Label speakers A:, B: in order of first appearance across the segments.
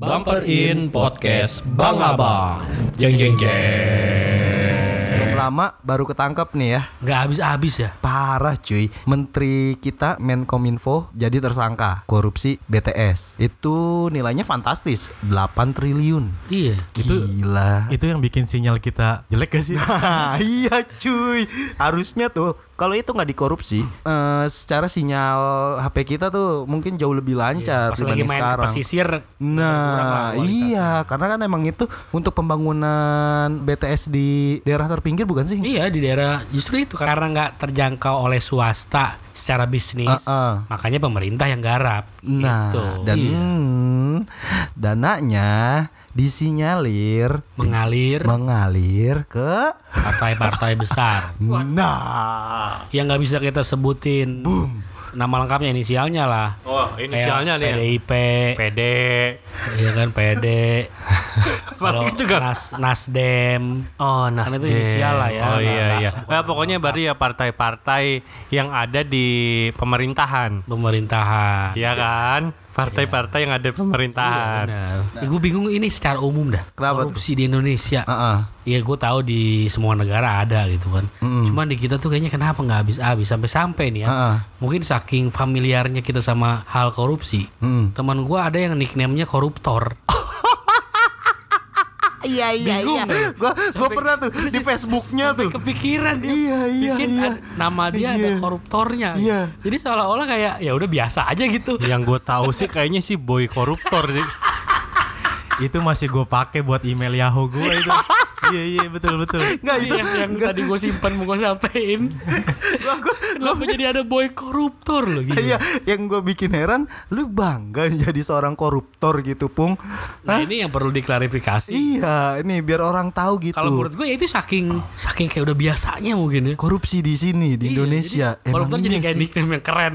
A: Bumper In Podcast Bang Abang. Jeng jeng jeng.
B: Belum lama baru ketangkep nih ya.
C: nggak habis-habis ya
B: Parah cuy. Menteri kita Menkominfo jadi tersangka korupsi BTS. Itu nilainya fantastis, 8 triliun.
C: iya
B: Gila.
D: Itu yang bikin sinyal kita jelek gak sih?
B: Nah, iya cuy. Harusnya tuh kalau itu nggak dikorupsi, eh, secara sinyal HP kita tuh mungkin jauh lebih lancar Nah,
C: Iya, pas lagi
B: dibanding
C: main ke
B: sekarang.
C: pesisir kurang lah
B: Nah,
C: kualitasnya.
B: iya, karena kan emang itu untuk pembangunan BTS di daerah terpinggir bukan sih?
C: iya di daerah justru itu karena nggak terjangkau oleh swasta secara bisnis
B: Uh-uh.
C: makanya pemerintah yang garap
B: Nah,
C: gitu.
B: dan
C: Iya.
B: hmm, dananya disinyalir
C: mengalir
B: mengalir ke
C: partai-partai besar
B: nah
C: yang nggak bisa kita sebutin nama lengkapnya inisialnya lah
D: Oh, inisialnya
C: Kayak
E: ya.
D: nih.
C: PDIP
D: PD.
C: Iya kan PD kalau
D: itu kan?
C: Nas, Nasdem
D: Oh,
C: Kan itu inisial lah ya.
D: Oh
C: Nggak-
D: iya
C: nggak-
D: iya.
C: bukan
D: Nah, pokoknya berarti ya partai-partai yang ada di pemerintahan.
C: pemerintahan Iya,
D: Iya kan? Partai-partai yang ada di pemerintahan.
E: Iya,
C: Benar. gue bingung ini secara umum dah.
B: Nah. Kenapa
C: korupsi di Indonesia.
B: Heeh.
C: Ya gue tahu di semua negara ada gitu kan. Cuman di kita tuh kayaknya kenapa nggak habis-habis sampai-sampai nih ya.
B: Heeh.
C: Mungkin saking familiarnya kita sama hal korupsi.
B: Mm.
C: Teman gue ada yang nickname-nya koruptor.
B: iya iya iya gua gua pernah tuh di Facebooknya tuh
C: Kepikiran dia.
B: Iya, iya,
C: Bikin
B: iya.
C: ad- nama dia ada
B: Iya.
C: koruptornya.
B: Iya.
C: Jadi seolah-olah kayak ya udah biasa aja gitu.
D: Yang gue tahu sih kayaknya sih boy koruptor sih.
E: itu masih gue pakai buat email Yahoo gue itu. iya iya betul betul.
B: Enggak
C: Ini
B: itu
C: Iya, yang, yang tadi gue simpan mau gue sampein. Kenapa jadi ada boy koruptor loh gitu?
B: Iya, yang gue bikin heran, lu bangga jadi seorang koruptor gitu, Pung.
C: Nah, ini yang perlu diklarifikasi.
B: Iya, ini biar orang tahu gitu.
C: Kalau menurut gue ya itu saking saking kayak udah biasanya mungkin ya.
B: korupsi di sini di Indonesia
C: Jadi, koruptor
B: iya
C: jadi kayak
B: sih.
C: nickname yang keren.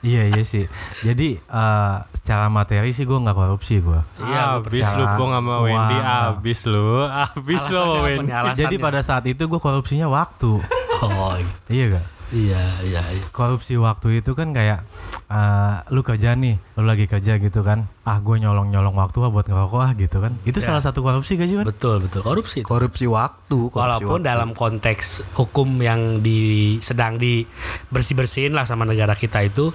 E: iya iya sih. Jadi eh, secara materi sih gue nggak korupsi gue.
C: Iya,
D: abis lu
E: percaya.
D: Pung sama Wendy,
E: Ah, Wah.
D: abis lu, abis lu sama
C: Alasannya apa
D: Wendy.
C: nih? Alasannya.
E: Jadi pada saat itu gue korupsinya waktu.
C: Oh,
E: iya gak?
C: iya iya. iya.
E: Korupsi waktu itu kan kayak eh, lu kerja nih, lu lagi kerja gitu kan. Ah gue nyolong nyolong waktu ah buat ngerokok ah gitu kan. Itu
C: Iya.
E: salah satu korupsi gak sih kan?
C: Betul betul korupsi. itu.
B: korupsi waktu, korupsi
C: Walaupun
B: waktu.
C: dalam konteks hukum yang di sedang di bersih bersihin lah sama negara kita itu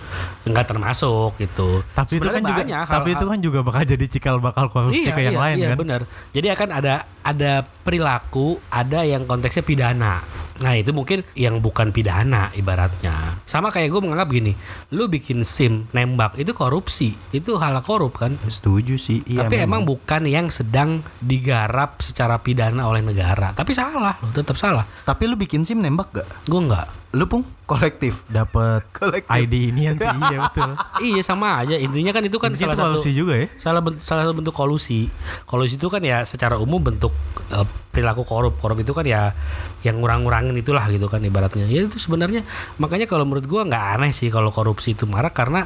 C: enggak termasuk gitu.
E: Tapi itu kan
C: Sebenarnya
E: juga,
C: banyak
E: tapi
C: hal-
E: itu kan juga bakal jadi cikal bakal korupsi
C: iya,
E: ke yang
C: iya,
E: lain
C: iya,
E: kan.
C: benar. Jadi akan ada ada perilaku, ada yang konteksnya pidana. Nah itu mungkin yang bukan pidana ibaratnya. Sama kayak gue menganggap gini, lu bikin sim nembak itu korupsi, itu hal korup kan.
B: Setuju sih, iya.
C: Tapi
B: memang.
C: emang bukan yang sedang digarap secara pidana oleh negara. Tapi salah, lo tetap salah.
B: Tapi lu bikin SIM nembak gak?
C: Gue nggak.
B: Lu pun kolektif.
E: Dapat
B: Kolektif.
E: ID ini sih iya betul.
C: Iya sama aja. Intinya kan itu kan
E: Itu
C: salah satu
E: korupsi juga ya?
C: Salah bent- salah satu bentuk kolusi. Kolusi itu kan ya secara umum bentuk eh, perilaku korup. Korup itu kan ya yang ngurang-ngurangin itulah gitu kan ibaratnya. Ya itu sebenarnya makanya kalau menurut gua nggak aneh sih kalau korupsi itu marah karena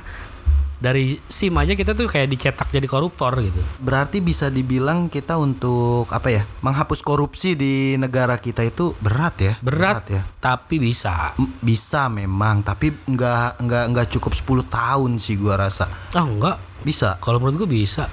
C: dari SIM aja kita tuh kayak dicetak jadi koruptor gitu.
B: Berarti bisa dibilang kita untuk apa ya? Menghapus korupsi di negara kita itu berat ya?
C: Berat,
B: ya.
C: tapi bisa.
B: M- Bisa memang, tapi nggak nggak nggak cukup 10 tahun sih gua rasa.
C: Ah enggak,
B: Bisa.
C: kalau menurut gua bisa.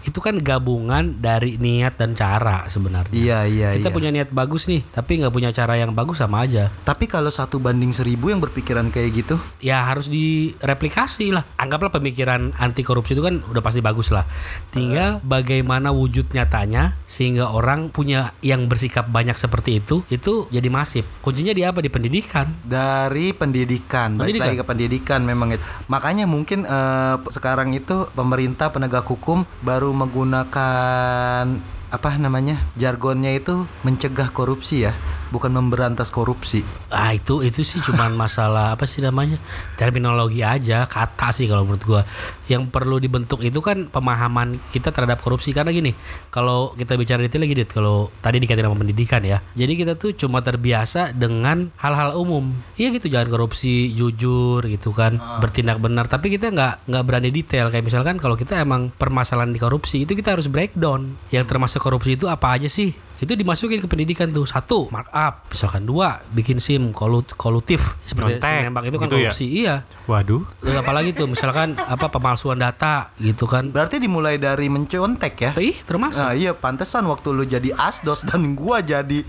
C: Itu kan gabungan dari niat dan cara sebenarnya.
B: Iya iya iya.
C: Kita punya niat bagus nih, tapi nggak punya cara yang bagus sama aja.
B: Tapi kalau satu banding seribu yang berpikiran kayak gitu,
C: ya harus direplikasi lah. Anggaplah pemikiran anti korupsi itu kan udah pasti bagus lah. Tinggal bagaimana wujud nyatanya sehingga orang punya yang bersikap banyak seperti itu itu jadi masif. Kuncinya di apa? Di pendidikan.
B: dari pendidikan, balik
C: Pendidikan.
B: lagi ke pendidikan memang itu. Makanya mungkin eh, sekarang itu pemerintah penegak hukum baru menggunakan apa namanya? jargonnya itu mencegah korupsi ya, bukan memberantas korupsi.
C: Ah itu itu sih cuman masalah apa sih namanya terminologi aja kata sih kalau menurut gua yang perlu dibentuk itu kan pemahaman kita terhadap korupsi karena gini kalau kita bicara detail lagi Dit, kalau tadi dikaitin sama pendidikan ya jadi kita tuh cuma terbiasa dengan hal-hal umum iya gitu jangan korupsi jujur gitu kan bertindak benar tapi kita nggak nggak berani detail kayak misalkan kalau kita emang permasalahan di korupsi itu kita harus breakdown yang termasuk korupsi itu apa aja sih itu dimasukin ke pendidikan tuh satu markup misalkan dua bikin sim kolut kolutif seperti
D: Nyontek,
C: sim nembak itu kan
D: gitu ya?
C: korupsi iya
D: Waduh.
C: Terus apalagi tuh misalkan apa pemalsuan pemalsuan data gitu kan.
B: Berarti dimulai dari mencontek ya.
C: Ih, termasuk.
B: Nah, iya pantesan waktu lu jadi asdos dan gua jadi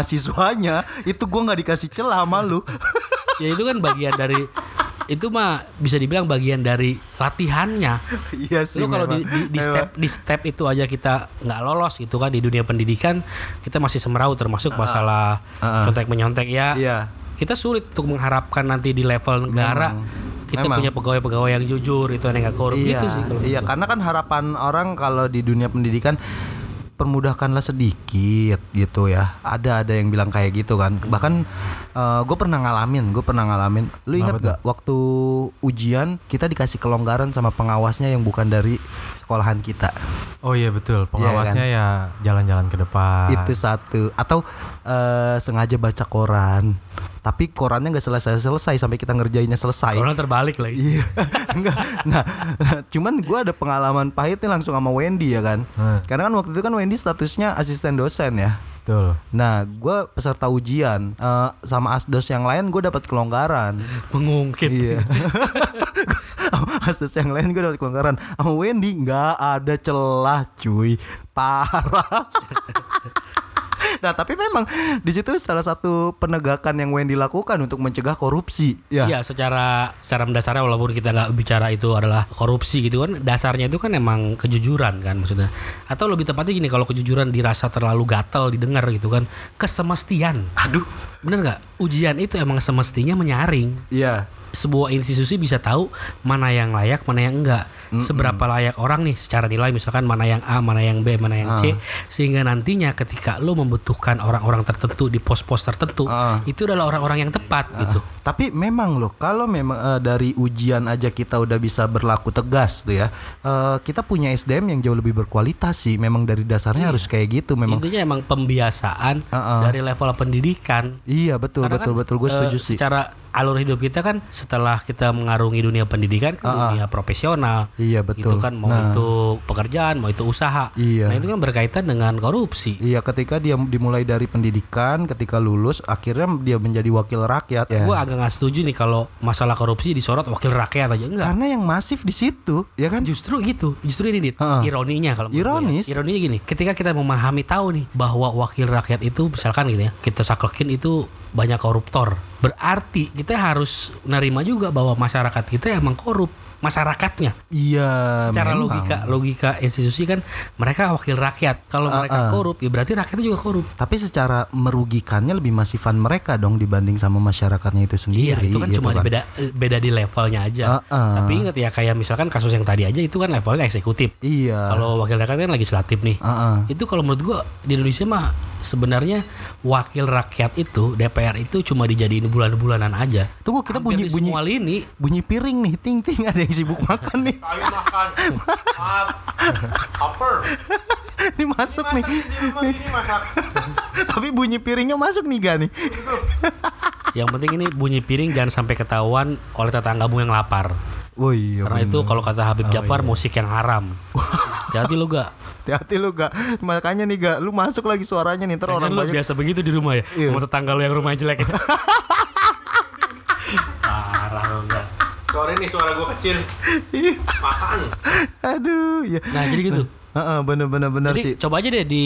B: mahasiswanya itu gua nggak dikasih celah sama lu.
C: ya itu kan bagian dari itu mah bisa dibilang bagian dari latihannya.
B: iya sih.
C: Lu kalau di,
B: memang.
C: di, di
B: Memang.
C: step di step itu aja kita nggak lolos gitu kan di dunia pendidikan kita masih semeraut termasuk masalah contek menyontek ya.
B: Iya.
C: Kita sulit untuk mengharapkan nanti di level negara kita
B: Hmm, Memang.
C: punya pegawai-pegawai yang jujur itu yang nggak korup
B: Iya,
C: gitu sih kalau
B: iya karena kan harapan orang kalau di dunia pendidikan permudahkanlah sedikit gitu ya. Ada ada yang bilang kayak gitu kan. Bahkan gue pernah ngalamin, gue pernah ngalamin. Lu ingat gak waktu ujian kita dikasih kelonggaran sama pengawasnya yang bukan dari sekolahan kita.
E: Oh iya betul, pengawasnya
C: kan?
E: ya jalan-jalan ke
C: Ah.
E: depan.
B: Itu satu. Atau eh, sengaja baca koran, tapi korannya nggak selesai selesai sampai kita ngerjainnya selesai.
C: Orang terbalik lagi.
B: Iya, enggak. Nah, cuman gua ada pengalaman pahitnya langsung sama Wendy ya kan.
E: Hmm.
B: Karena kan waktu itu kan Wendy statusnya asisten dosen ya.
E: Betul.
B: Nah, gua peserta ujian eh, sama asdos yang lain gue dapat kelonggaran.
C: Mengungkit.
B: Iya. Sama asdos yang lain gue dapat kelonggaran. Sama Wendy nggak ada celah, cuy. Parah. Nah, tapi memang di situ salah satu penegakan yang Wendy lakukan untuk mencegah korupsi, ya.
C: Iya, secara secara mendasarnya walaupun kita nggak bicara itu adalah korupsi gitu kan, dasarnya itu kan emang kejujuran kan maksudnya. Atau lebih tepatnya gini kalau kejujuran dirasa terlalu gatel didengar gitu kan, kesemestian.
B: Aduh.
C: Bener nggak? Ujian itu emang semestinya menyaring.
B: Iya.
C: Sebuah institusi bisa tahu mana yang layak, mana yang enggak. Seberapa layak orang nih secara nilai misalkan mana yang A, mana yang B, mana yang
B: Ah.
C: C sehingga nantinya ketika lo membutuhkan orang-orang tertentu di pos-pos tertentu,
B: Ah.
C: itu adalah orang-orang yang tepat gitu.
B: Tapi memang loh, kalau memang eh, dari ujian aja kita udah bisa berlaku tegas tuh ya. Eh, kita punya SDM yang jauh lebih berkualitas sih. Memang dari
C: Iya.
B: dasarnya harus kayak gitu. Memang
C: intinya emang pembiasaan dari level pendidikan
B: iya Ah, betul
C: Karena
B: betul
C: kan,
B: betul gue
C: eh,
B: setuju sih.
C: secara alur hidup kita kan setelah kita mengarungi dunia pendidikan ke dunia profesional
B: Ah, Iya, betul.
C: itu kan mau itu pekerjaan mau itu usaha
B: Iya.
C: nah itu kan berkaitan dengan korupsi
B: Iya, ketika dia dimulai dari pendidikan, ketika lulus, akhirnya dia menjadi wakil rakyat. Ya.
C: gue agak nggak setuju nih kalau masalah korupsi disorot wakil rakyat aja enggak
B: Karena yang masif di situ, ya kan?
C: Justru gitu, justru ini Dit.
B: Heeh.
C: ironinya kalau menurut gue
B: Ironis.
C: ya. Ironinya gini, ketika kita memahami tahu nih bahwa wakil rakyat itu misalkan gitu ya, kita saklekin itu banyak koruptor. Berarti kita harus nerima juga bahwa masyarakat kita emang korup masyarakatnya
B: Iya.
C: secara
B: memang.
C: logika logika institusi kan mereka wakil rakyat kalau mereka korup ya berarti rakyatnya juga korup
B: Tapi secara merugikannya lebih masifan mereka dong dibanding sama masyarakatnya itu
C: Iya,
B: sendiri.
C: itu kan
B: gitu
C: cuma
B: kan.
C: beda beda di levelnya aja.
B: Heeh.
C: Tapi ingat ya kayak misalkan kasus yang tadi aja itu kan levelnya eksekutif.
B: Iya.
C: Kalau wakil rakyat kan legislatif nih.
B: Heeh.
C: Itu kalau menurut gua di Indonesia mah sebenarnya wakil rakyat itu DPR itu cuma dijadiin bulan-bulanan aja.
B: Tunggu kita
C: Hampir
B: bunyi
C: di
B: bunyi
C: semua lini
B: bunyi piring nih ting ting ada yang sibuk makan nih
D: Ayo makan. Maaf. Hopper.
B: ini masuk nih
D: ini masak.
B: tapi bunyi piringnya masuk nih gak nih
C: yang penting ini bunyi piring jangan sampai ketahuan oleh tetanggamu yang lapar.
B: oh iya
C: Karena itu kalau kata Habib
B: Oh,
C: Jafar musik yang haram. Jadi lu gak
B: hati-hati lu gak makanya nih gak lu masuk lagi suaranya nih ntar orang
C: Jangan lu
B: banyak
C: biasa begitu di rumah ya
B: Iya.
C: Sama tetangga lu yang rumahnya jelek itu Parah lu enggak
D: Sorry nih suara gua kecil. Makan.
B: aduh ya
C: Nah jadi gitu
B: Heeh, bener-bener bener
C: Jadi
B: sih
C: coba aja deh di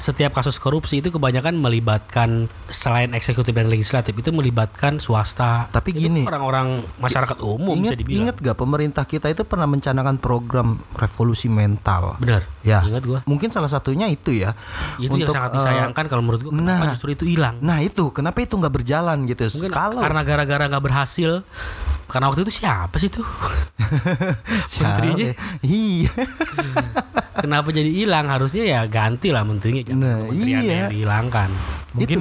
C: setiap kasus korupsi itu kebanyakan melibatkan selain eksekutif dan legislatif itu melibatkan swasta.
B: Tapi
C: Itu
B: gini-
C: orang-orang masyarakat umum bisa
B: Ingat,
C: dibilang.
B: ingat gak pemerintah kita itu pernah mencanangkan program revolusi mental
C: Benar.
B: Ya.
C: Ingat gua.
B: Mungkin salah satunya itu ya.
C: Itu yang sangat
B: eh,
C: disayangkan kalau menurut gua kenapa
B: nah.
C: justru itu hilang.
B: nah itu kenapa itu nggak berjalan gitu?
C: Mungkin
B: Kalau
C: karena gara-gara nggak berhasil. Karena waktu itu siapa sih tuh?
B: Siapa
C: menterinya.
B: ya? Iya.
C: Kenapa jadi hilang? Harusnya ya ganti lah menterinya. Jangan
B: Nah,
C: kementeriannya
B: iya.
C: yang dihilangkan.
E: Mungkin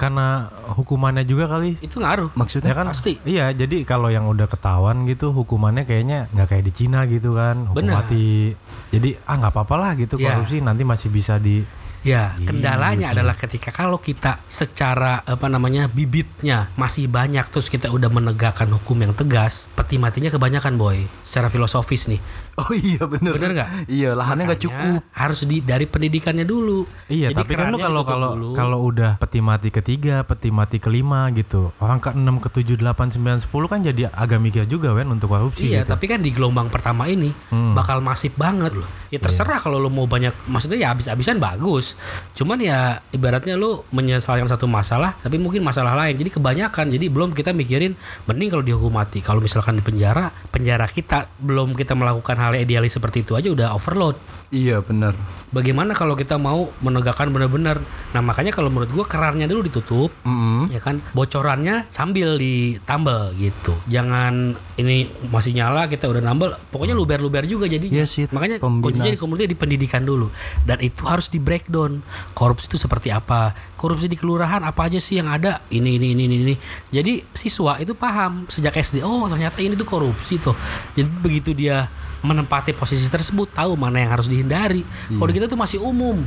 E: karena hukumannya juga kali.
C: Itu ngaruh.
B: Maksudnya
E: Ya kan?
C: Pasti.
E: Iya, jadi kalau yang udah ketahuan gitu hukumannya kayaknya nggak kayak di Cina gitu kan, hukum
C: Bener.
E: mati. Jadi ah nggak apa-apa lah gitu
C: Iya.
E: korupsi nanti masih bisa di
C: Ya,
E: Iya,
C: kendalanya adalah ketika kalau kita secara apa namanya bibitnya masih banyak terus kita udah menegakkan hukum yang tegas, peti matinya kebanyakan boy. secara filosofis nih.
B: Oh iya bener.
C: Bener nggak?
B: Iya lahannya nggak
C: Makanya
B: cukup.
C: Harus di dari pendidikannya dulu.
E: Iya,
C: Jadi
E: tapi kan lu
C: kerannya
E: kalau
C: ditutup
E: kalau
C: dulu.
E: kalau udah peti mati ketiga, peti mati kelima gitu. Orang ke 6 ke 7 8 9 10 kan jadi agak mikir juga Wen untuk korupsi
C: Iya,
E: gitu.
C: tapi kan di gelombang pertama ini bakal masif banget loh. Ya terserah kalau lu mau banyak, maksudnya ya habis-habisan bagus. Cuman ya ibaratnya lu menyelesaikan satu masalah, tapi mungkin masalah lain. Jadi kebanyakan, jadi belum kita mikirin mending kalau dihukum mati. Kalau misalkan di penjara, penjara kita belum kita melakukan hal yang idealis seperti itu aja udah overload.
B: Iya bener.
C: Bagaimana kalau kita mau menegakkan benar-benar? Nah makanya kalau menurut gua kerannya dulu ditutup,
B: Mm-mm.
C: ya kan bocorannya sambil ditambal gitu jangan ini masih nyala kita udah nambal pokoknya luber-luber juga jadinya
B: Yes, it.
C: makanya
B: Kombinasi.
C: kuncinya di komunitas di pendidikan dulu dan itu harus di breakdown korupsi itu seperti apa korupsi di kelurahan apa aja sih yang ada ini ini ini ini, ini. jadi siswa itu paham sejak SD oh ternyata ini tuh korupsi tuh jadi begitu dia menempati posisi tersebut tahu mana yang harus dihindari
B: Iya.
C: kalau di kita tuh masih umum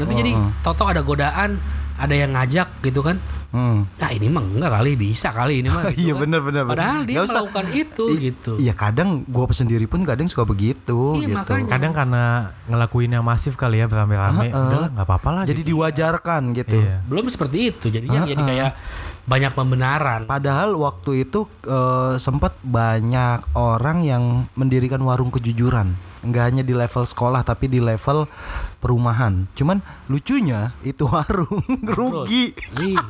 C: nanti jadi
B: Oh.
C: toto ada godaan ada yang ngajak gitu kan
B: Hmm.
C: Nah ini mah enggak kali bisa kali ini mah. gitu
B: Iya
C: kan.
B: bener bener. bener.
C: Padahal dia
B: Nggak usah.
C: melakukan itu
B: I-
C: gitu.
B: Iya kadang gua sendiri pun kadang suka begitu gitu.
C: Iya, makanya.
E: Kadang karena ngelakuinnya masif kali ya
B: Heeh.
E: beramai-ramai, udahlah nggak apa-apa lah.
B: Jadi
C: Iya.
E: gitu.
B: diwajarkan gitu.
E: Iya.
C: Belum seperti itu jadinya
B: Ah,
C: jadi
B: ah.
C: kayak banyak pembenaran.
B: Padahal waktu itu eh, sempat banyak orang yang mendirikan warung kejujuran. Nggak hanya di level sekolah tapi di level perumahan. Cuman lucunya itu warung rugi.
C: Iya.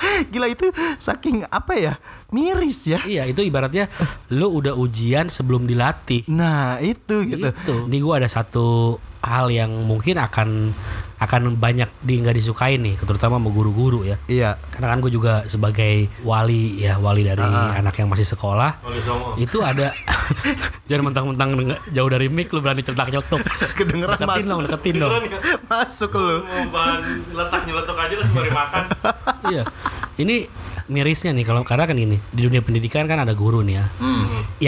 B: Gila itu saking apa ya? Miris ya.
C: Iya, itu ibaratnya lu udah ujian sebelum dilatih.
B: Nah, itu gitu.
C: Gitu. Ini gua ada satu hal yang mungkin akan akan banyak di nggak disukain nih, terutama sama guru-guru ya.
B: Iya.
C: Karena kan gue juga sebagai wali ya, wali dari anak yang masih sekolah. Itu ada jangan mentang-mentang nge- jauh dari mic lu berani cetak-cetuk.
B: Kedengeran
C: deketin
B: masuk.
C: dong, deketin dong.
B: Masuk lu.
D: bahan letak nyeletuk aja terus baru makan
C: Iya. Ini mirisnya nih kalau karena kan ini di dunia pendidikan kan ada guru nih ya.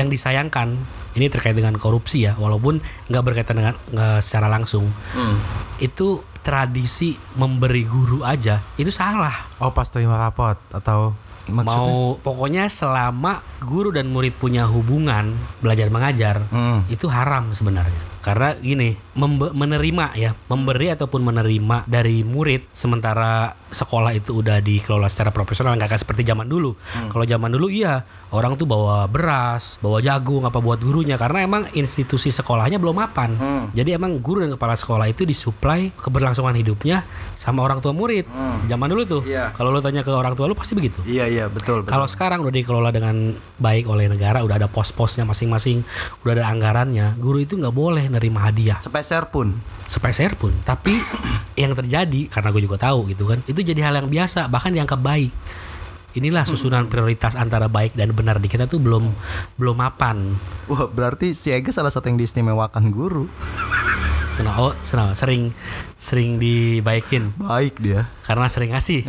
C: Yang disayangkan ini terkait dengan korupsi ya, walaupun nggak berkaitan dengan nggak secara langsung. Itu tradisi memberi guru aja itu salah.
E: Oh pas terima rapot atau
B: Maksudnya?
C: Mau pokoknya selama guru dan murid punya hubungan belajar mengajar
B: Hmm.
C: itu haram sebenarnya. Karena gini, membe- menerima ya, memberi ataupun menerima dari murid sementara sekolah itu udah dikelola secara profesional nggak kayak seperti zaman dulu.
B: Hmm.
C: Kalau zaman dulu iya, orang tuh bawa beras, bawa jagung apa buat gurunya karena emang institusi sekolahnya belum mapan.
B: Hmm.
C: Jadi emang guru dan kepala sekolah itu disuplai keberlangsungan hidupnya sama orang tua murid. Zaman dulu tuh.
B: Iya.
C: Kalau lo tanya ke orang tua lu pasti begitu.
B: Iya, iya, betul, betul.
C: Kalau sekarang udah dikelola dengan baik oleh negara, udah ada pos-posnya masing-masing, udah ada anggarannya, guru itu nggak boleh nerima hadiah
B: Sepeser pun.
C: sepeser pun. Tapi yang terjadi karena gue juga tahu gitu kan, itu jadi hal yang biasa, bahkan dianggap baik. Inilah susunan prioritas antara baik dan benar di kita tuh belum belum mapan.
B: Wah, berarti si Ega salah satu yang diistimewakan guru.
C: Kena oh, senang, sering sering dibaikin
B: Baik dia.
C: karena sering ngasih.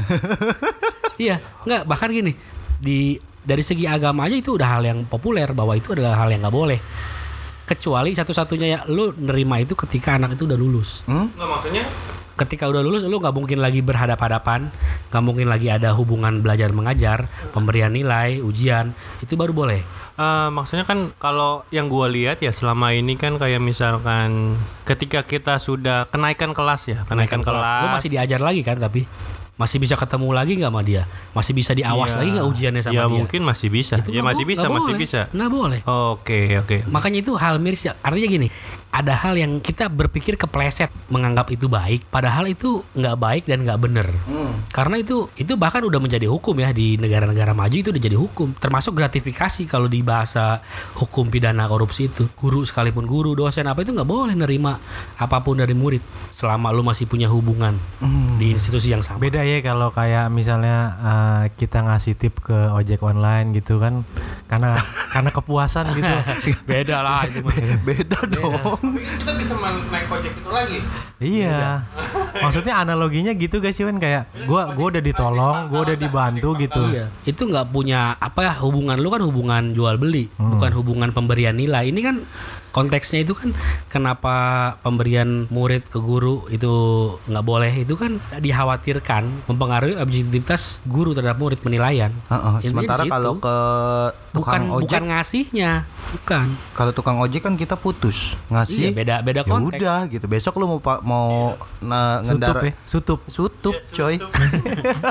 C: iya, nggak bahkan gini di dari segi agama aja itu udah hal yang populer bahwa itu adalah hal yang nggak boleh. Kecuali satu-satunya ya lu nerima itu ketika anak itu udah lulus.
D: nggak maksudnya
C: Ketika udah lulus lu nggak mungkin lagi berhadap-hadapan, nggak mungkin lagi ada hubungan belajar mengajar, pemberian nilai, ujian, itu baru boleh.
D: Eh, maksudnya kan kalau yang gua lihat ya selama ini kan kayak misalkan ketika kita sudah kenaikan kelas ya kenaikan, kelas,
C: Kan Lu masih diajar lagi kan tapi masih bisa ketemu lagi nggak sama dia? Masih bisa diawas
D: Iya.
C: lagi nggak ujiannya sama
D: ya
C: dia?
D: mungkin masih bisa
C: Itu
D: ya
C: nggak
D: masih
C: bo-
D: bisa
C: nggak
D: masih
C: boleh.
D: bisa
C: Nggak boleh.
D: oke oke
C: Makanya itu hal miris ya. Artinya gini, ada hal yang kita berpikir kepleset menganggap itu baik, padahal itu nggak baik dan nggak bener. Karena itu itu bahkan udah menjadi hukum ya di negara-negara maju itu udah jadi hukum. Termasuk gratifikasi kalau di bahasa hukum pidana korupsi itu, guru sekalipun guru, dosen apa itu nggak boleh nerima apapun dari murid selama lu masih punya hubungan di institusi yang sama.
E: Beda ya kalau kayak misalnya eh, kita ngasih tip ke ojek online gitu kan karena karena kepuasan gitu.
C: Beda lah itu mah.
B: Beda dong.
D: kita bisa cuma naik ojek itu lagi.
E: Iya. Maksudnya analoginya gitu guys sih kan kayak gua gua udah ditolong, gua udah dibantu gitu.
C: Iya. Itu nggak punya apa ya hubungan lu kan hubungan jual beli,
B: Hmm.
C: bukan hubungan pemberian nilai. Ini kan konteksnya itu kan kenapa pemberian murid ke guru itu nggak boleh itu kan dikhawatirkan mempengaruhi objektivitas guru terhadap murid penilaian.
B: Heeh,
C: Intinya Iya, di
B: sementara
C: situ.
B: kalau ke
C: bukan
B: tukang ojek,
C: bukan ngasihnya, bukan.
B: kalau tukang ojek kan kita putus
C: Iya,
B: ngasih.
C: beda beda
B: ya
C: konteks. Iya.
B: udah gitu. Besok lu mau pa- mau na-
E: Sutup
B: ngendara
E: ya, sutup.
B: sutup coy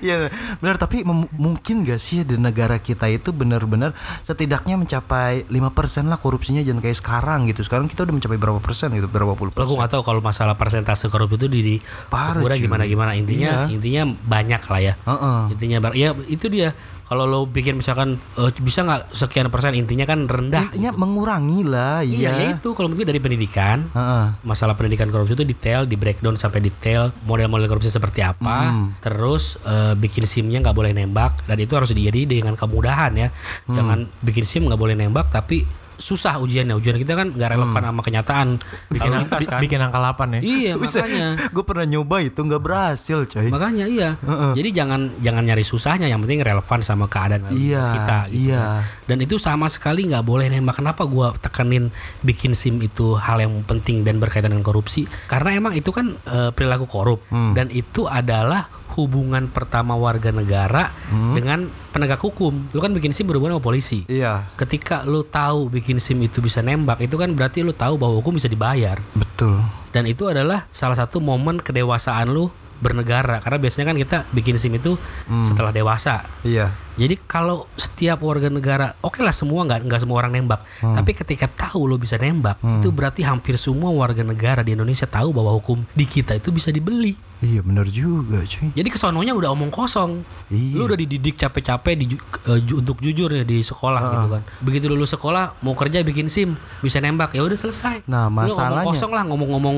B: ya benar tapi mem- mungkin gak sih di negara kita itu benar-benar setidaknya mencapai 5% lah korupsinya jangan kayak sekarang gitu sekarang kita udah mencapai berapa persen gitu berapa puluh
C: Lo gue
B: persen
C: nggak tahu kalau masalah persentase korup itu di, di
B: Parah,
C: ukuran
B: cuy. Iya.
C: gimana gimana intinya intinya banyak lah ya.
B: Heeh.
C: Intinya bar- ya itu dia kalau lo bikin misalkan eh, bisa nggak sekian persen intinya kan rendah.
B: Intinya mengurangi lah
C: Iya, Ah. ya
B: iya
C: itu kalau menurut gue dari pendidikan
B: Heeh.
C: masalah pendidikan korupsi itu detail di breakdown sampai detail model-model korupsi seperti apa terus eh, bikin simnya nggak boleh nembak dan itu harus dijadi dengan kemudahan ya jangan bikin sim nggak boleh nembak tapi susah ujiannya ujian kita kan nggak relevan sama kenyataan
E: Bikin,
C: Kalau-
E: angka-
D: kan?
E: bikin angka 8 ya.
C: iya makanya
B: gue pernah nyoba itu nggak berhasil coy
C: makanya iya jadi jangan jangan nyari susahnya yang penting relevan sama keadaan lalu
B: Iya,
C: lintas kita gitu
B: iya.
C: kan. dan itu sama sekali nggak boleh nembak kenapa gua tekenin bikin sim itu hal yang penting dan berkaitan dengan korupsi karena emang itu kan eh, perilaku korup
B: Hmm.
C: dan itu adalah hubungan pertama warga negara
B: Hmm.
C: dengan penegak hukum lu kan bikin sim berhubungan sama polisi
B: iya
C: ketika lu tahu bikin sim itu bisa nembak itu kan berarti lu tahu bahwa hukum bisa dibayar
B: betul
C: dan itu adalah salah satu momen kedewasaan lu bernegara karena biasanya kan kita bikin SIM itu setelah dewasa.
B: iya
C: Jadi kalau setiap warga negara, oke lah semua nggak nggak semua orang nembak, tapi ketika tahu lo bisa nembak, itu berarti hampir semua warga negara di Indonesia tahu bahwa hukum di kita itu bisa dibeli.
B: iya benar juga coy
C: Jadi kesononya udah omong kosong.
B: Iya.
C: Lu udah dididik capek-capek di, ju- eh, ju- untuk jujur ya di sekolah gitu kan. Begitu lulus sekolah mau kerja bikin SIM, bisa nembak ya udah selesai.
B: Nah,
C: Lu omong
B: masalanya-
C: kosong lah ngomong-ngomong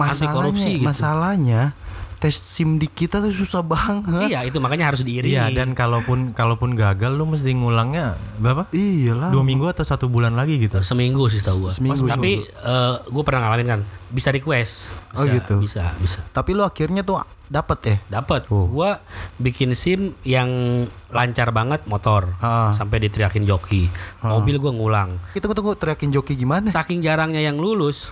C: anti
B: masalahnya
C: korupsi gitu.
B: masalahnya tes sim di kita tuh susah banget
C: Iya itu makanya harus diiringi.
E: Iya, dan kalaupun kalaupun gagal lu mesti ngulangnya berapa?
B: iyalah
E: Dua minggu atau satu bulan lagi gitu.
C: Eh, seminggu sih tahu gua.
B: seminggu,
C: Tapi gue pernah ngalamin kan, bisa request. Bisa,
B: Oh, gitu.
C: Bisa, bisa.
B: Tapi lu akhirnya tuh dapet ya?
C: Dapat. Gua bikin SIM yang lancar banget motor sampai diteriakin joki. Mobil gua ngulang.
B: Kita tunggu teriakin joki gimana?
C: Saking jarangnya yang lulus,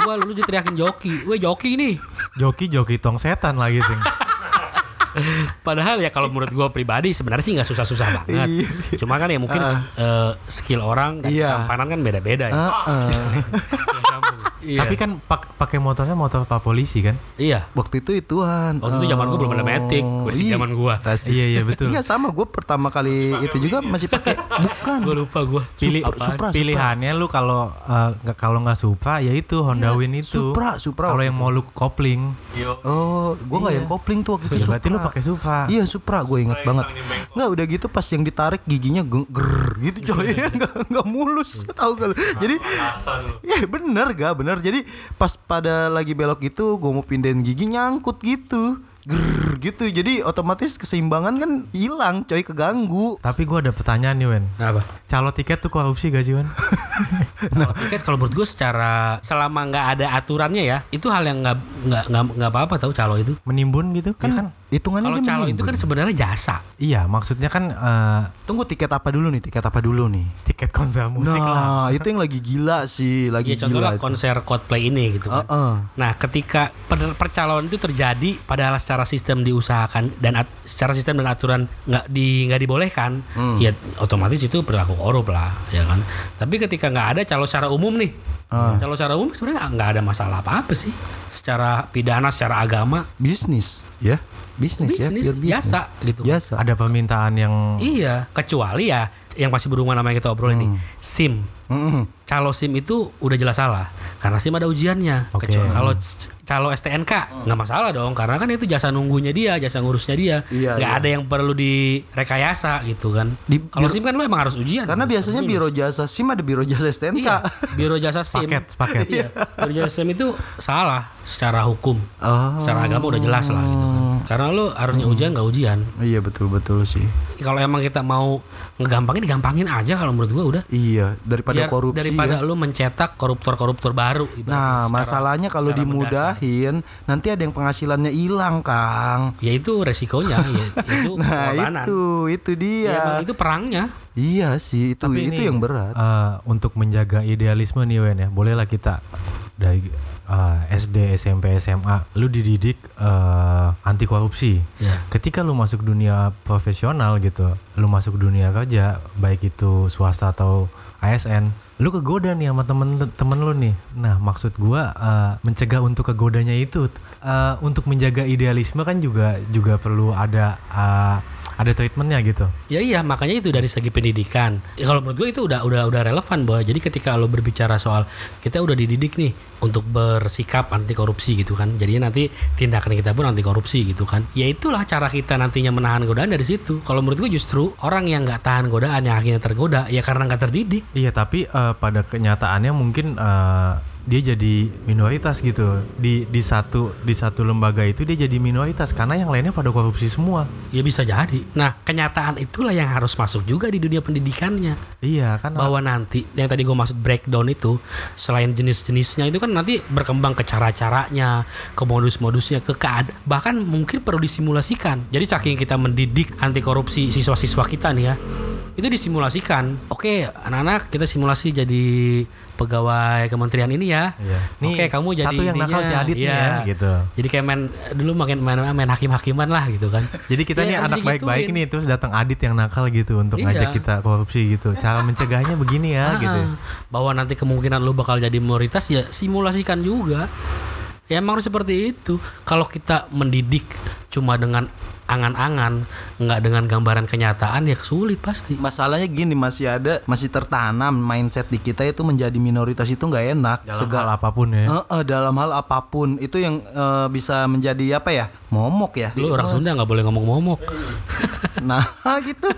C: gua lulus diteriakin joki. Weh joki nih.
E: Joki joki tong setan lagi sing.
C: Padahal ya kalau menurut gua pribadi sebenarnya sih nggak susah-susah banget. Cuma kan ya mungkin eh, skill orang
B: Ah.
C: dan
B: Iya. Ah.
C: ketampanan kan beda-beda
B: Eh,
C: ya. Iya.
E: Tapi kan pak- pakai motornya motor Pak Polisi kan?
C: iya.
B: Waktu itu ituan.
C: Waktu itu zaman gua belum ada Matic,
B: Oh,
C: masih
B: iya.
C: zaman gua.
B: Tas-
E: Iya iya betul.
B: Enggak sama gue pertama kali itu juga masih pakai ya? bukan.
C: Gua lupa gua.
E: Pilih,
B: Supra, Supra.
E: pilihannya lu kalau eh, nggak- kalau nggak Supra ya itu Honda Win itu.
B: Iya, Supra, Supra
E: Kalau
B: waktu
E: yang mau lu kopling,
B: Oh, gue nggak
C: Iya.
B: yang kopling tuh waktu
E: ya
B: itu.
E: berarti lu
B: Iya, Supra.
E: pakai Supra.
C: Ah.
B: Iya Supra gue inget banget Nggak udah gitu pas yang ditarik giginya geng- ger gitu coy nggak, nggak mulus tahu kalau Jadi Iya bener gak bener Jadi pas pada lagi belok gitu gue mau pindahin gigi nyangkut gitu Ger gitu Jadi otomatis keseimbangan kan hilang coy keganggu
E: Tapi gua ada pertanyaan nih Wen.
C: Apa?
E: Calo tiket tuh korupsi gak sih Wen?
B: Nah.
C: Tiket kalau menurut gue secara selama nggak ada aturannya ya itu hal yang nggak nggak nggak nggak apa-apa tahu calo itu.
E: Menimbun gitu
B: Iya
E: kan? kan?
B: Hitungannya
C: Kalau
B: dia
C: calo itu
B: menimbun.
C: kan sebenarnya jasa.
E: Iya maksudnya kan eh,
B: Tunggu tiket apa dulu nih tiket apa dulu nih
E: tiket konser musik
B: Nah
E: lah.
B: itu yang lagi gila sih Lagi
C: Ya contohnya
B: gila Oh.
C: konser Coldplay ini gitu kan.
B: Heeh.
C: Nah, ketika per- percaloan itu terjadi padahal secara sistem diusahakan dan at- secara sistem dan aturan nggak di nggak dibolehkan, ya otomatis itu perilaku korup lah, ya kan. Tapi ketika nggak ada calo secara umum nih, calo secara umum sebenarnya nggak- nggak ada masalah apa-apa sih. Secara pidana, secara agama,
B: Bisnis Ya Bisnis, ya
C: Bisnis,
B: pure bisnis.
C: biasa gitu.
B: Biasa
E: Ada permintaan yang
C: Iya, kecuali ya yang masih berhubungan sama yang kita obrolin ini, SIM. Calo SIM itu udah jelas salah karena SIM ada ujiannya.
E: Oke.
C: Kecuali kalau c- calo STNK nggak masalah dong karena kan itu jasa nunggunya dia, jasa ngurusnya dia.
B: Iya,
C: nggak
B: iya.
C: ada yang perlu direkayasa gitu kan.
B: Di-
C: kalau
B: di-
C: SIM kan lu emang harus ujian.
B: Karena
C: Harus
B: biasanya
C: lulus.
B: biro jasa SIM ada biro jasa STNK.
C: Iya, biro jasa SIM.
E: paket paket.
B: Oh.
C: Iya, biro jasa SIM itu salah secara hukum. Secara agama udah jelas lah gitu kan.
B: Hmm.
C: Karena lu harusnya ujian nggak ujian.
B: Iya betul betul sih.
C: Kalau emang kita mau ngegampangin, gampangin aja kalau menurut gua udah.
B: Iya daripada
C: Biar-
B: korupsi.
C: daripada
B: ya.
C: lu mencetak koruptor-koruptor baru. ibaratnya
B: Nah
C: secara-
B: masalahnya kalau
C: secara
B: dimudahin nanti ada yang penghasilannya hilang kang.
C: Ya itu resikonya, ya, itu
B: Nah
C: pengorbanan.
B: itu iya. itu
C: Ya, emang
B: dia.
C: itu perangnya.
B: iya sih itu
E: Tapi
B: itu
E: ini-
B: yang berat.
E: Eh, untuk menjaga idealisme nih Wen ya bolehlah kita dari eh, SD SMP SMA lu dididik eh, anti korupsi
C: Ya.
E: ketika lu masuk dunia profesional gitu lu masuk dunia kerja baik itu swasta atau ASN lu kegoda nih sama temen temen lu nih nah maksud gua eh, mencegah untuk kegodanya itu eh, untuk menjaga idealisme kan juga juga perlu ada eh, ada treatmentnya gitu
C: Ya iya, makanya itu dari segi pendidikan. Ya, kalau menurut gue itu udah udah udah relevan bahwa jadi ketika lo berbicara soal kita udah dididik nih untuk bersikap anti korupsi gitu kan. Jadinya nanti tindakan kita pun anti korupsi gitu kan. Ya itulah cara kita nantinya menahan godaan dari situ. Kalau menurut gue justru orang yang nggak tahan godaan yang akhirnya tergoda ya karena nggak terdidik.
E: Iya tapi eh, pada kenyataannya mungkin eh, dia jadi minoritas gitu di di satu di satu lembaga itu dia jadi minoritas karena yang lainnya pada korupsi semua.
C: Ya bisa jadi. Nah, kenyataan itulah yang harus masuk juga di dunia pendidikannya.
E: Iya kan
C: bahwa nanti yang tadi gue maksud breakdown itu selain jenis-jenisnya itu kan nanti berkembang ke cara-caranya, ke modus-modusnya, ke kead bahkan mungkin perlu disimulasikan. Jadi saking kita mendidik anti korupsi siswa-siswa kita nih ya. Itu disimulasikan. Oke, anak-anak kita simulasi jadi pegawai kementerian ini ya.
E: Iya. Nih,
C: Oke, kamu jadi
E: satu yang nakal
C: ininya.
E: si Adit nih
C: Iya.
E: ya, gitu.
C: Jadi kayak main dulu makin main, main hakim-hakiman lah gitu kan.
E: Jadi kita
C: Ya,
E: nih
C: harus
E: anak baik-baik
C: digituin.
E: nih terus datang Adit yang nakal gitu untuk
C: Iya.
E: ngajak kita korupsi gitu. Cara mencegahnya begini ya gitu.
C: Ah, bahwa nanti kemungkinan lu bakal jadi minoritas ya simulasikan juga ya emang harus seperti itu kalau kita mendidik cuma dengan angan-angan nggak dengan gambaran kenyataan ya sulit pasti
B: Masalahnya gini masih ada masih tertanam mindset di kita itu menjadi minoritas itu nggak enak.
E: Dalam
B: Segala
E: hal apapun ya.
B: Heeh, dalam hal apapun itu yang eh, bisa menjadi apa ya momok ya.
C: lu orang Sunda nggak boleh ngomong momok
B: Nah gitu.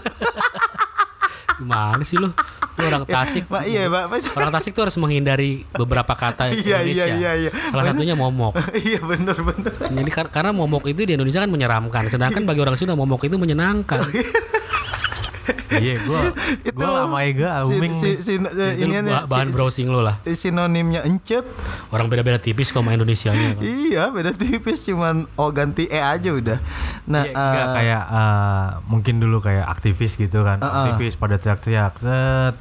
C: gimana sih lu lu orang Tasik
B: Pak iya pak.
C: orang Tasik tuh harus menghindari beberapa kata
B: Iya,
C: Indonesia
B: iya, iya, iya.
C: salah satunya momok
B: iya bener bener.
C: Jadi kar- karena momok itu di Indonesia kan menyeramkan, sedangkan bagi orang Sunda momok itu menyenangkan.
E: Iya, gua gua sama Ega
B: si-
E: Auming
B: si,
E: nih.
B: si, eh,
C: Itu
B: ini
C: bah- bahan browsing lu lah.
B: sinonimnya encet
E: Oh.
C: Orang beda-beda tipis kok sama Indonesianya. Kan.
B: iya beda tipis cuman oh ganti e aja udah nah
E: Iya, enggak,
B: eh,
E: kayak eh, mungkin dulu kayak aktivis gitu kan aktivis pada teriak-teriak set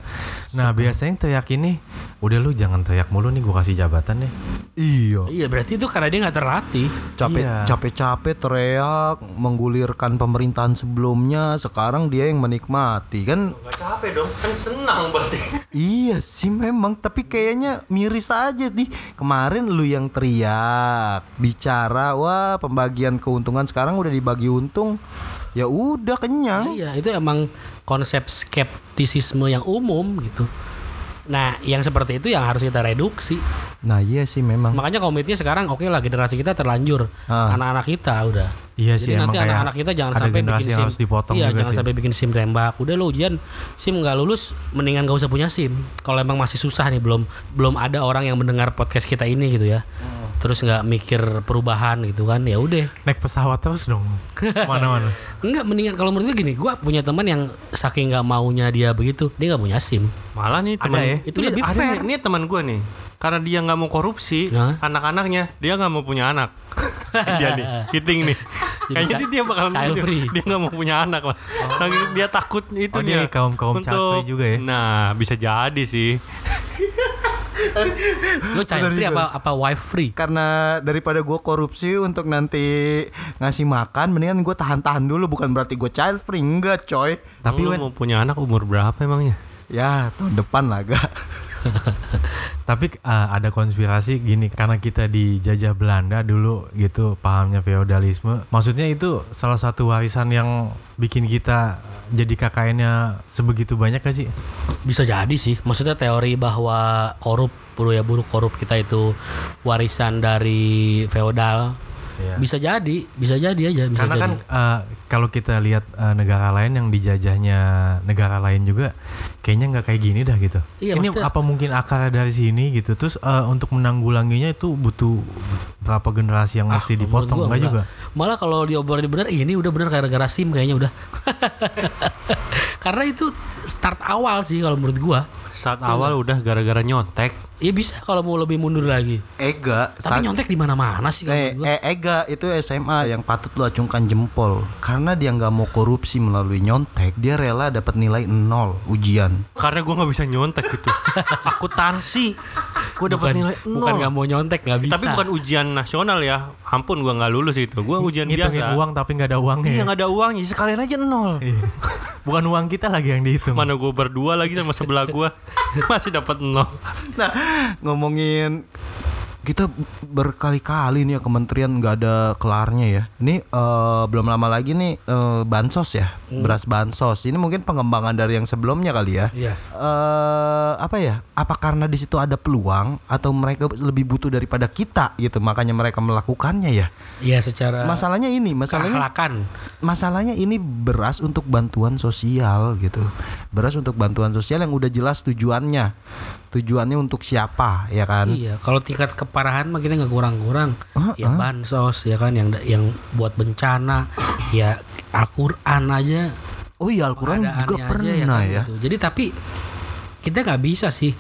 E: nah biasanya yang teriak ini udah lu jangan teriak mulu nih gua kasih jabatan deh
B: iya
C: Iya berarti itu karena dia nggak terlatih.
B: capek
E: Iya.
B: capek capek teriak menggulirkan pemerintahan sebelumnya sekarang dia yang menikmati kan
D: Gak capek dong, kan senang pasti.
B: Iya sih memang tapi kayaknya miris aja nih kemarin lu yang teriak bicara wah pembagian keuntungan sekarang udah dibagi untung ya udah
E: Oh.
B: kenyang
C: Iya itu emang konsep skeptisisme yang umum gitu. Nah yang seperti itu yang harus kita reduksi.
B: nah iya sih memang
C: Makanya komitnya sekarang oke lah generasi kita terlanjur,
B: Ah.
C: anak-anak kita udah.
E: Iya sih,
C: Jadi nanti
E: emang kayak
C: anak-anak kita jangan
E: ada
C: sampai
E: generasi
C: bikin
E: yang
C: sim.
E: harus dipotong
C: iya
E: juga
C: jangan
E: sih.
C: sampai bikin sim tembak. Udah lo ujian sim nggak lulus, mendingan gak usah punya sim. Kalau emang masih susah nih belum belum ada orang yang mendengar podcast kita ini gitu ya.
E: Hmm.
C: Terus nggak mikir perubahan gitu kan? Ya udah.
E: naik pesawat terus dong mana-mana
C: Enggak mendingan kalau menurut gue gini, gua punya teman yang saking nggak maunya dia begitu, dia nggak punya SIM.
D: Malah nih teman
E: ya?
C: Itu
D: Ini
C: lebih
D: ada
C: fair.
D: nih, Ini teman gue nih. Karena dia nggak mau korupsi,
C: Hah?
D: anak-anaknya dia nggak mau punya anak. dia nih, kiting nih. Kayaknya
C: chi-
D: dia bakal
C: child
D: dia-
C: free.
D: Dia nggak mau punya anak lah. Saking dia takut itu
E: Oh, dia kaum-kaum child free juga ya?
D: Nah, bisa jadi sih.
C: Lo child free apa apa wife free?
B: karena daripada gue korupsi untuk nanti ngasih makan mendingan gue tahan-tahan dulu bukan berarti gue child free enggak coy
E: tapi
D: Lu
E: Wen,
D: mau punya anak umur berapa emangnya?
B: ya tahun depan lah gak
E: tapi eh, ada konspirasi gini karena kita dijajah Belanda dulu gitu pahamnya feodalisme maksudnya itu salah satu warisan yang bikin kita jadi KKN-nya sebegitu banyak gak sih
C: Bisa jadi sih. Maksudnya teori bahwa korup buruh ya buruh korup kita itu warisan dari feodal.
E: Iya.
C: Bisa jadi, bisa jadi aja. Bisa
E: Karena
C: jadi.
E: kan eh, kalau kita lihat eh, negara lain yang dijajahnya negara lain juga kayaknya nggak kayak gini dah gitu.
C: Iya,
E: Ini
C: maksudnya-
E: apa mungkin akar dari sini gitu. Terus eh, untuk menanggulanginya itu butuh berapa generasi yang
C: Ah,
E: mesti
C: Menurut
E: dipotong
C: gua
E: nggak juga?
C: Malah kalau diobrolin bener, "Ih, ini udah bener gara-gara SIM kayaknya udah. Karena itu start awal sih kalau menurut gua.
D: Saat awal udah gara-gara nyontek.
C: Ya bisa kalau mau lebih mundur lagi.
B: Ega
C: Tapi nyontek di mana-mana sih kalau
B: Eh,
C: menurut gua.
B: eh, Ega itu SMA yang patut lo acungkan jempol karena dia nggak mau korupsi melalui nyontek dia rela dapat nilai nol ujian
D: Karena gue nggak bisa nyontek gitu. Akuntansi. Gue dapat
C: Bukan,
D: nilai
C: bukan
D: nol.
C: nggak mau nyontek nggak bisa.
D: Tapi bukan ujian nasional ya. Ampun gue nggak lulus itu. Gue ujian
E: Ngitungin
D: biasa.
E: uang tapi nggak ada uangnya. ya?
D: Iya nggak ada uangnya. Sekalian aja nol.
E: Iya. Bukan uang kita lagi yang dihitung.
D: Mana gue berdua lagi sama sebelah gue masih dapat nol.
B: nah ngomongin kita berkali-kali nih ya kementerian nggak ada kelarnya ya ini eh, belum lama lagi nih eh, bansos ya beras bansos ini mungkin pengembangan dari yang sebelumnya kali ya
C: Iya.
B: eh apa ya? Apa karena di situ ada peluang atau mereka lebih butuh daripada kita gitu, makanya mereka melakukannya ya.
C: Iya secara
B: Masalahnya ini, masalahnya
C: keahlakan.
B: masalahnya ini beras untuk bantuan sosial gitu. Beras untuk bantuan sosial yang udah jelas tujuannya. Tujuannya untuk siapa ya kan?
C: Iya, kalau tingkat keparahan mah kita nggak kurang-kurang.
D: Ah,
C: ya bansos ya kan yang yang buat bencana, ya Al-Qur'an aja
B: Oh iya Al-Quran juga
C: keadaannya aja
B: pernah
C: kan,
B: ya.
C: gitu. Jadi tapi kita nggak bisa sih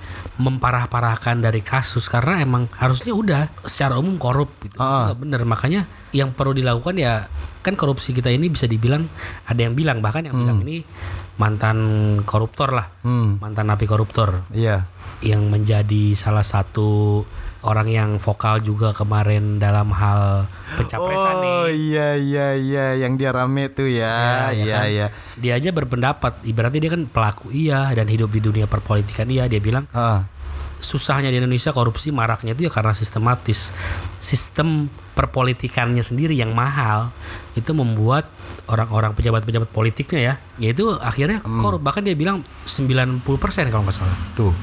C: memparah-parahkan dari kasus karena emang harusnya udah secara umum korup gitu. Itu
B: Ah.
C: nggak bener makanya yang perlu dilakukan ya kan korupsi kita ini bisa dibilang ada yang bilang bahkan yang bilang ini mantan koruptor lah,
B: Hmm,
C: mantan napi koruptor
B: iya.
C: yang menjadi salah satu orang yang vokal juga kemarin dalam hal pencapresan nih.
B: Oh iya iya iya yang dia rame tuh ya.
C: Ya, ya
B: Iya
C: kan?
B: iya.
C: Dia aja berpendapat, ibaratnya dia kan pelaku iya dan hidup di dunia perpolitikan iya. Dia bilang
B: Ah,
C: susahnya di Indonesia korupsi maraknya itu ya karena sistematis. Sistem perpolitikannya sendiri yang mahal itu membuat orang-orang pejabat-pejabat politiknya ya yaitu akhirnya korup bahkan dia bilang 90% kalau nggak salah
B: tuh.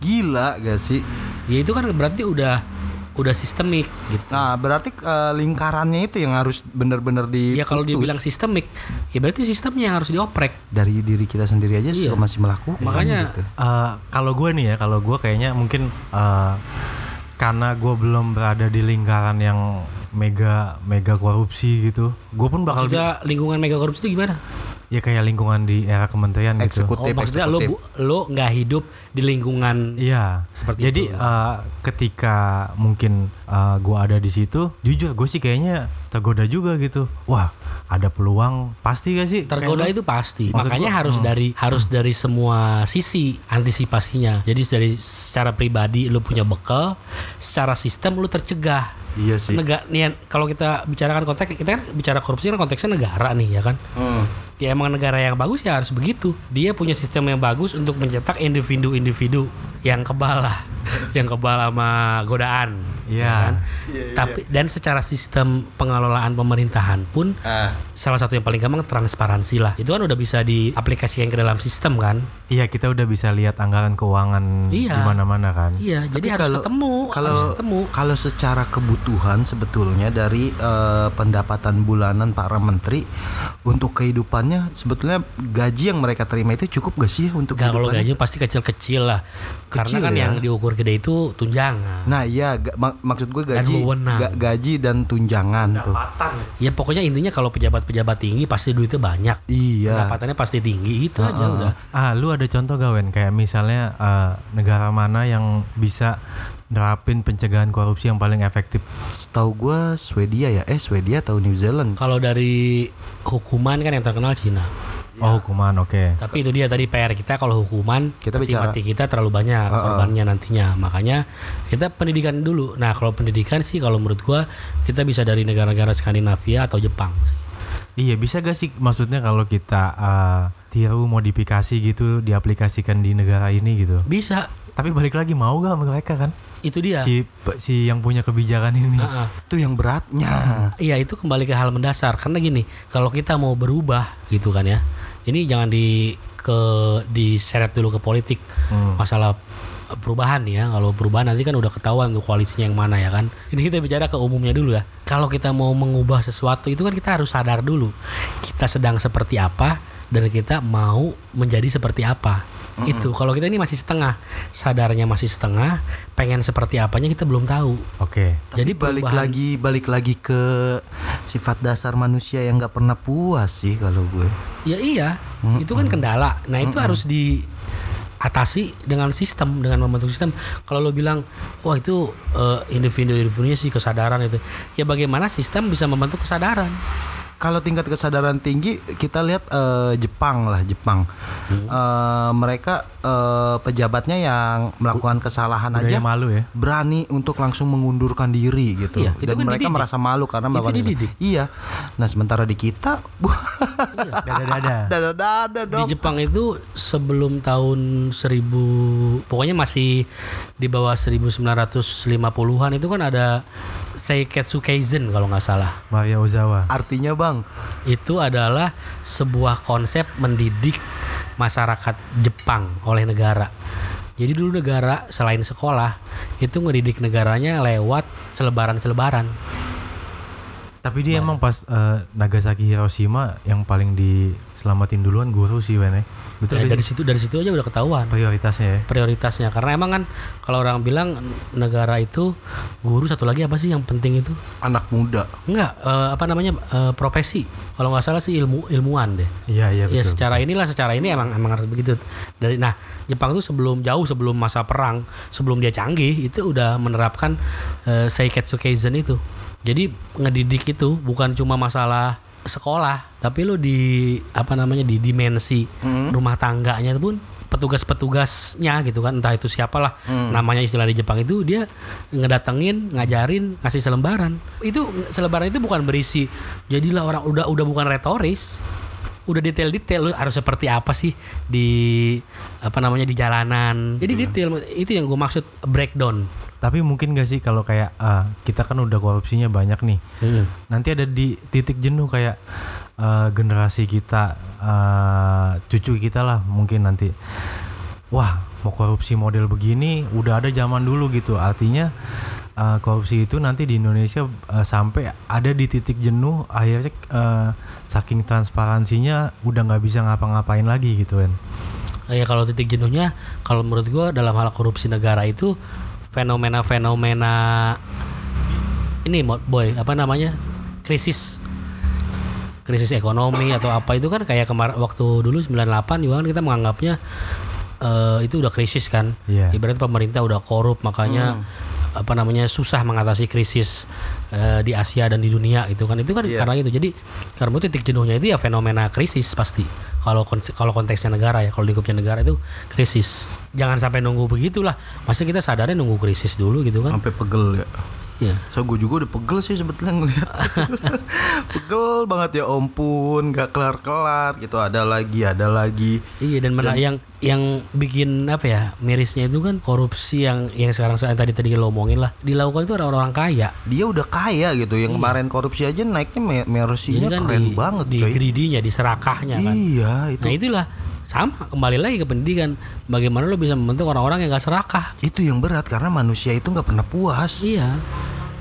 B: Gila gak sih?
C: ya itu kan berarti udah udah sistemik gitu
B: Nah, berarti eh, lingkarannya itu yang harus benar-benar di
C: Ya kalau dia bilang sistemik, ya berarti sistemnya yang harus dioprek.
B: dari diri kita sendiri aja
C: Iya.
B: masih melakukan
C: Makanya- Oh,
B: gitu.
E: Eh, kalau gue nih ya, kalau gue kayaknya mungkin eh, karena gue belum berada di lingkaran yang mega mega korupsi gitu, gue pun bakal di-
C: Maksudnya lingkungan mega korupsi itu gimana?
E: ya kayak lingkungan di era kementerian gitu.
B: eksekutif
C: Oh, maksudnya lo
B: eksekutif.
C: bu- lo nggak hidup di lingkungan
E: Iya.
C: Seperti
E: Jadi
C: itu.
E: eh, ketika mungkin eh, gua ada di situ, jujur gue sih kayaknya tergoda juga gitu. Wah, ada peluang pasti gak sih?
C: tergoda
E: Kayak lu-
C: itu pasti.
E: Maksud
C: Makanya
E: gua, hmm.
C: harus dari harus dari semua sisi antisipasinya. Jadi dari secara pribadi lo punya bekal, secara sistem lo tercegah.
B: Iya sih.
C: Negara, kalau kita bicarakan konteks kita kan bicara korupsi kan konteksnya negara nih ya kan.
E: Hmm.
C: Ya emang negara yang bagus ya harus begitu. Dia punya sistem yang bagus untuk mencetak individu-individu yang kebal lah, yang kebal sama godaan.
E: Iya.
C: ya kan? Tapi dan secara sistem pengelolaan pemerintahan pun
B: Ah,
C: salah satu yang paling gampang transparansi lah. Itu kan udah bisa diaplikasikan ke dalam sistem kan?
E: Iya, kita udah bisa lihat anggaran keuangan
C: Iya.
E: di mana-mana kan.
C: Iya,
B: Tapi
C: jadi harus
B: kalau-
C: ketemu,
B: kalau
C: harus ketemu.
B: kalau secara kebutuhan sebetulnya dari eh, pendapatan bulanan para menteri untuk kehidupannya sebetulnya gaji yang mereka terima itu cukup gak sih untuk
C: Gak kalau
B: kehidupannya?
C: gajinya pasti kecil-kecil lah.
B: Kecil
C: Karena kan
B: ya.
C: yang diukur gede itu tunjangan.
B: Nah, iya ga- mak- maksud gue gaji
C: wewenang.
B: ga- gaji dan tunjangan tuh.
C: Ya pokoknya intinya kalau pejabat-pejabat tinggi pasti duitnya banyak.
B: Iya.
C: Pendapatannya pasti tinggi itu aja udah.
E: Ah, lu ada contoh gak Wen? Kayak misalnya eh, negara mana yang bisa nerapin pencegahan korupsi yang paling efektif?
B: Setahu gue Swedia ya. Eh, Swedia atau New Zealand?
C: Kalau dari hukuman kan yang terkenal Cina. Iya.
E: Oh, hukuman, oke.
C: Tapi itu dia tadi PR kita kalau hukuman
B: Kita
C: mati-
B: bicara-
C: mati kita terlalu banyak korbannya nantinya. Makanya kita pendidikan dulu. Nah, kalau pendidikan sih kalau menurut gua kita bisa dari negara-negara Skandinavia atau Jepang. sih.
E: Iya bisa gak sih maksudnya kalau kita eh, tiru modifikasi gitu diaplikasikan di negara ini gitu.
C: Bisa.
E: Tapi balik lagi mau gak mereka kan?
C: Itu dia.
E: Si si yang punya kebijakan ini.
C: Ah, ah.
B: Itu yang beratnya.
C: Iya itu kembali ke hal mendasar karena gini kalau kita mau berubah gitu kan ya ini jangan di ke diseret dulu ke politik
B: Hmm.
C: masalah perubahan nih ya kalau perubahan nanti kan udah ketahuan tuh koalisinya yang mana ya kan ini kita bicara ke umumnya dulu ya kalau kita mau mengubah sesuatu itu kan kita harus sadar dulu kita sedang seperti apa dan kita mau menjadi seperti apa
B: Hmm.
C: itu kalau kita ini masih setengah sadarnya masih setengah pengen seperti apanya kita belum tahu
E: Oke. Oke.
B: Tapi
C: Jadi
B: balik
C: perubahan-
B: lagi balik lagi ke sifat dasar manusia yang nggak pernah puas sih kalau gue.
C: Ya iya, itu kan kendala. Nah, itu harus diatasi dengan sistem, dengan membentuk sistem. Kalau lo bilang, "Wah, itu eh, individu-individunya sih kesadaran itu." Ya bagaimana sistem bisa membentuk kesadaran?
B: Kalau tingkat kesadaran tinggi kita lihat eh, Jepang lah Jepang.
C: Hmm.
B: Eh, mereka eh, pejabatnya yang melakukan kesalahan
E: Budaya
B: aja
E: malu ya.
B: berani untuk langsung mengundurkan diri gitu
C: Iya, itu
B: dan
C: kan
B: mereka
C: dididik.
B: merasa malu karena
C: Itu
B: melakukan
C: dididik.
B: iya nah sementara di kita
E: Dada-dada.
B: dada dada
C: Iya, Di
B: dong
C: Jepang itu sebelum tahun 1000 pokoknya masih di bawah 1950-an itu kan ada Seiketsu Kaizen kalau nggak salah.
E: Maya Ozawa.
B: artinya bang
C: itu adalah sebuah konsep mendidik masyarakat Jepang oleh negara. Jadi dulu negara selain sekolah itu ngedidik negaranya lewat selebaran-selebaran.
E: Tapi dia emang pas eh, Nagasaki Hiroshima yang paling diselamatin duluan guru sih Wen ya. Betul
C: Ya,
E: nggak
C: dari
E: sih?
C: situ dari situ aja udah ketahuan
E: prioritasnya ya.
C: prioritasnya karena emang kan kalau orang bilang negara itu guru satu lagi apa sih yang penting itu?
B: anak muda
C: Enggak, eh, apa namanya? eh, profesi. Kalau nggak salah sih ilmu ilmuwan deh.
E: Iya iya
C: Ya
E: betul.
C: secara inilah secara ini emang emang harus begitu. Dari nah Jepang tuh sebelum jauh sebelum masa perang, sebelum dia canggih itu udah menerapkan eh, Seiketsu Kaizen itu. Jadi ngedidik itu bukan cuma masalah sekolah, tapi lo di apa namanya di dimensi rumah tangganya pun petugas-petugasnya gitu kan entah itu siapalah namanya istilah di Jepang itu dia ngedatengin ngajarin ngasih selembaran itu selembaran itu bukan berisi jadilah orang udah udah bukan retoris udah detail-detail lu harus seperti apa sih di apa namanya di jalanan. Gitu. Jadi detail itu yang gue maksud breakdown.
E: Tapi mungkin gak sih kalau kayak ah, kita kan udah korupsinya banyak nih. Nanti ada di titik jenuh kayak eh, generasi kita eh, cucu kita lah mungkin nanti wah mau korupsi model begini udah ada zaman dulu gitu. Artinya eh, korupsi itu nanti di Indonesia eh, sampai ada di titik jenuh akhirnya eh, saking transparansinya udah nggak bisa ngapa-ngapain lagi gitu kan.
C: Ya kalau titik jenuhnya kalau menurut gue dalam hal korupsi negara itu fenomena-fenomena ini Mo- boy apa namanya krisis krisis ekonomi atau apa itu kan kayak kemarin waktu dulu 98 juga kan kita menganggapnya eh, itu udah krisis kan
E: Iya.
C: ibarat pemerintah udah korup
B: Hmm.
C: makanya apa namanya susah mengatasi krisis eh, di Asia dan di dunia gitu kan itu kan
B: Iya.
C: karena itu jadi karena itu titik jenuhnya itu ya fenomena krisis pasti kalau kon- kalau konteksnya negara ya kalau lingkupnya negara itu krisis jangan sampai nunggu begitulah masa kita sadarnya nunggu krisis dulu gitu kan
B: sampai pegel ya
C: Iya.
B: so gue juga udah pegel sih sebetulnya ngelihat pegel banget ya ampun gak kelar kelar gitu ada lagi ada lagi
C: Iya dan, mena- yang yang bikin apa ya mirisnya itu kan korupsi yang yang sekarang saya tadi tadi lo omongin lah dilakukan itu orang-orang kaya.
B: dia udah kaya gitu yang kemarin korupsi aja naiknya me- merosinya
C: Iya. kan
B: Iya, keren
C: di,
B: banget
C: di
B: coy
C: greedy-nya, di serakahnya kan.
B: iya itu
C: Nah itulah sama kembali lagi ke pendidikan bagaimana lo bisa membentuk orang-orang yang gak serakah.
B: itu yang berat karena manusia itu nggak pernah puas
C: Iya.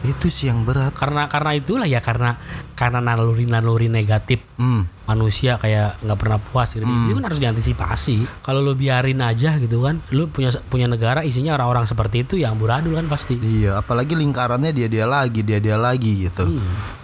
B: itu sih yang berat
C: Karena karena itulah ya karena karena naluri-naluri negatif
B: hmm.
C: manusia kayak nggak pernah puas gitu. Itu kan harus diantisipasi. Kalau lo biarin aja gitu kan, lo punya punya negara isinya orang-orang seperti itu yang amburadul kan pasti.
B: Iya, apalagi lingkarannya dia dia lagi, dia dia lagi gitu.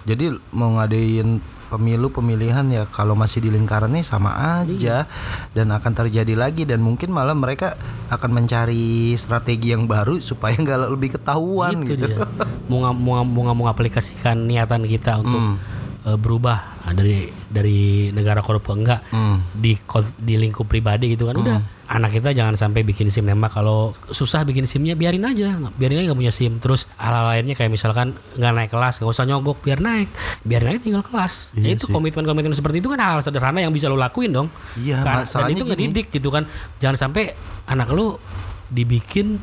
B: Jadi mau ngadain pemilu pemilihan ya kalau masih di lingkarannya sama aja dan akan terjadi lagi dan mungkin malah mereka akan mencari strategi yang baru supaya nggak lebih ketahuan
C: itu
B: gitu.
C: dia mau nggak mau nggak- mau nggak mau aplikasikan niatan kita untuk eh, berubah Nah, dari dari negara korup ke enggak di kon- di lingkup pribadi gitu kan udah anak kita jangan sampai bikin sim nembak kalau susah bikin simnya biarin aja biarin aja nggak punya sim terus hal lainnya kayak misalkan nggak naik kelas nggak usah nyogok biar naik biarin aja tinggal kelas Ya, itu komitmen komitmen seperti itu kan hal sederhana yang bisa lo lakuin dong
B: Iya,
C: Kan- dan
B: masalahnya
C: itu
B: gini.
C: ngedidik gitu kan jangan sampai anak lu dibikin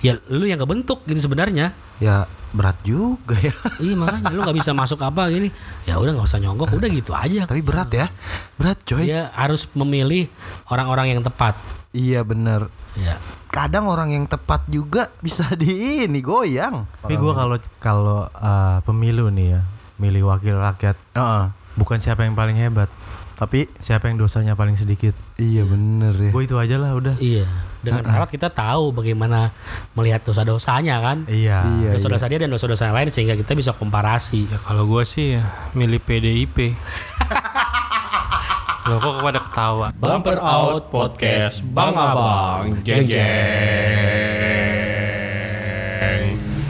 C: ya lu yang kebentuk gitu sebenarnya
B: Ya berat juga ya.
C: Iya makanya lu nggak bisa masuk apa gini. Ya udah nggak usah nyonggok, udah gitu aja.
B: Tapi berat ya. Berat coy.
C: Dia harus memilih orang-orang yang tepat.
B: Iya bener
C: Ya.
B: Kadang orang yang tepat juga bisa di ini goyang.
E: Tapi gue kalau kalau eh, pemilu nih ya, milih wakil rakyat
B: Heeh.
E: bukan siapa yang paling hebat,
B: Tapi
E: siapa yang dosanya paling sedikit.
B: iya bener ya.
E: Gue itu aja lah udah.
C: Iya. dengan syarat kita tahu bagaimana melihat dosa-dosanya kan
E: Iya.
B: Iya.
C: dosa-dosa dia dan dosa-dosa yang lain sehingga kita bisa komparasi
D: Ya kalau gua sih ya milih PDIP. Loh kok pada ketawa?
A: Bumper Out Podcast Bang Abang Jeng Jeng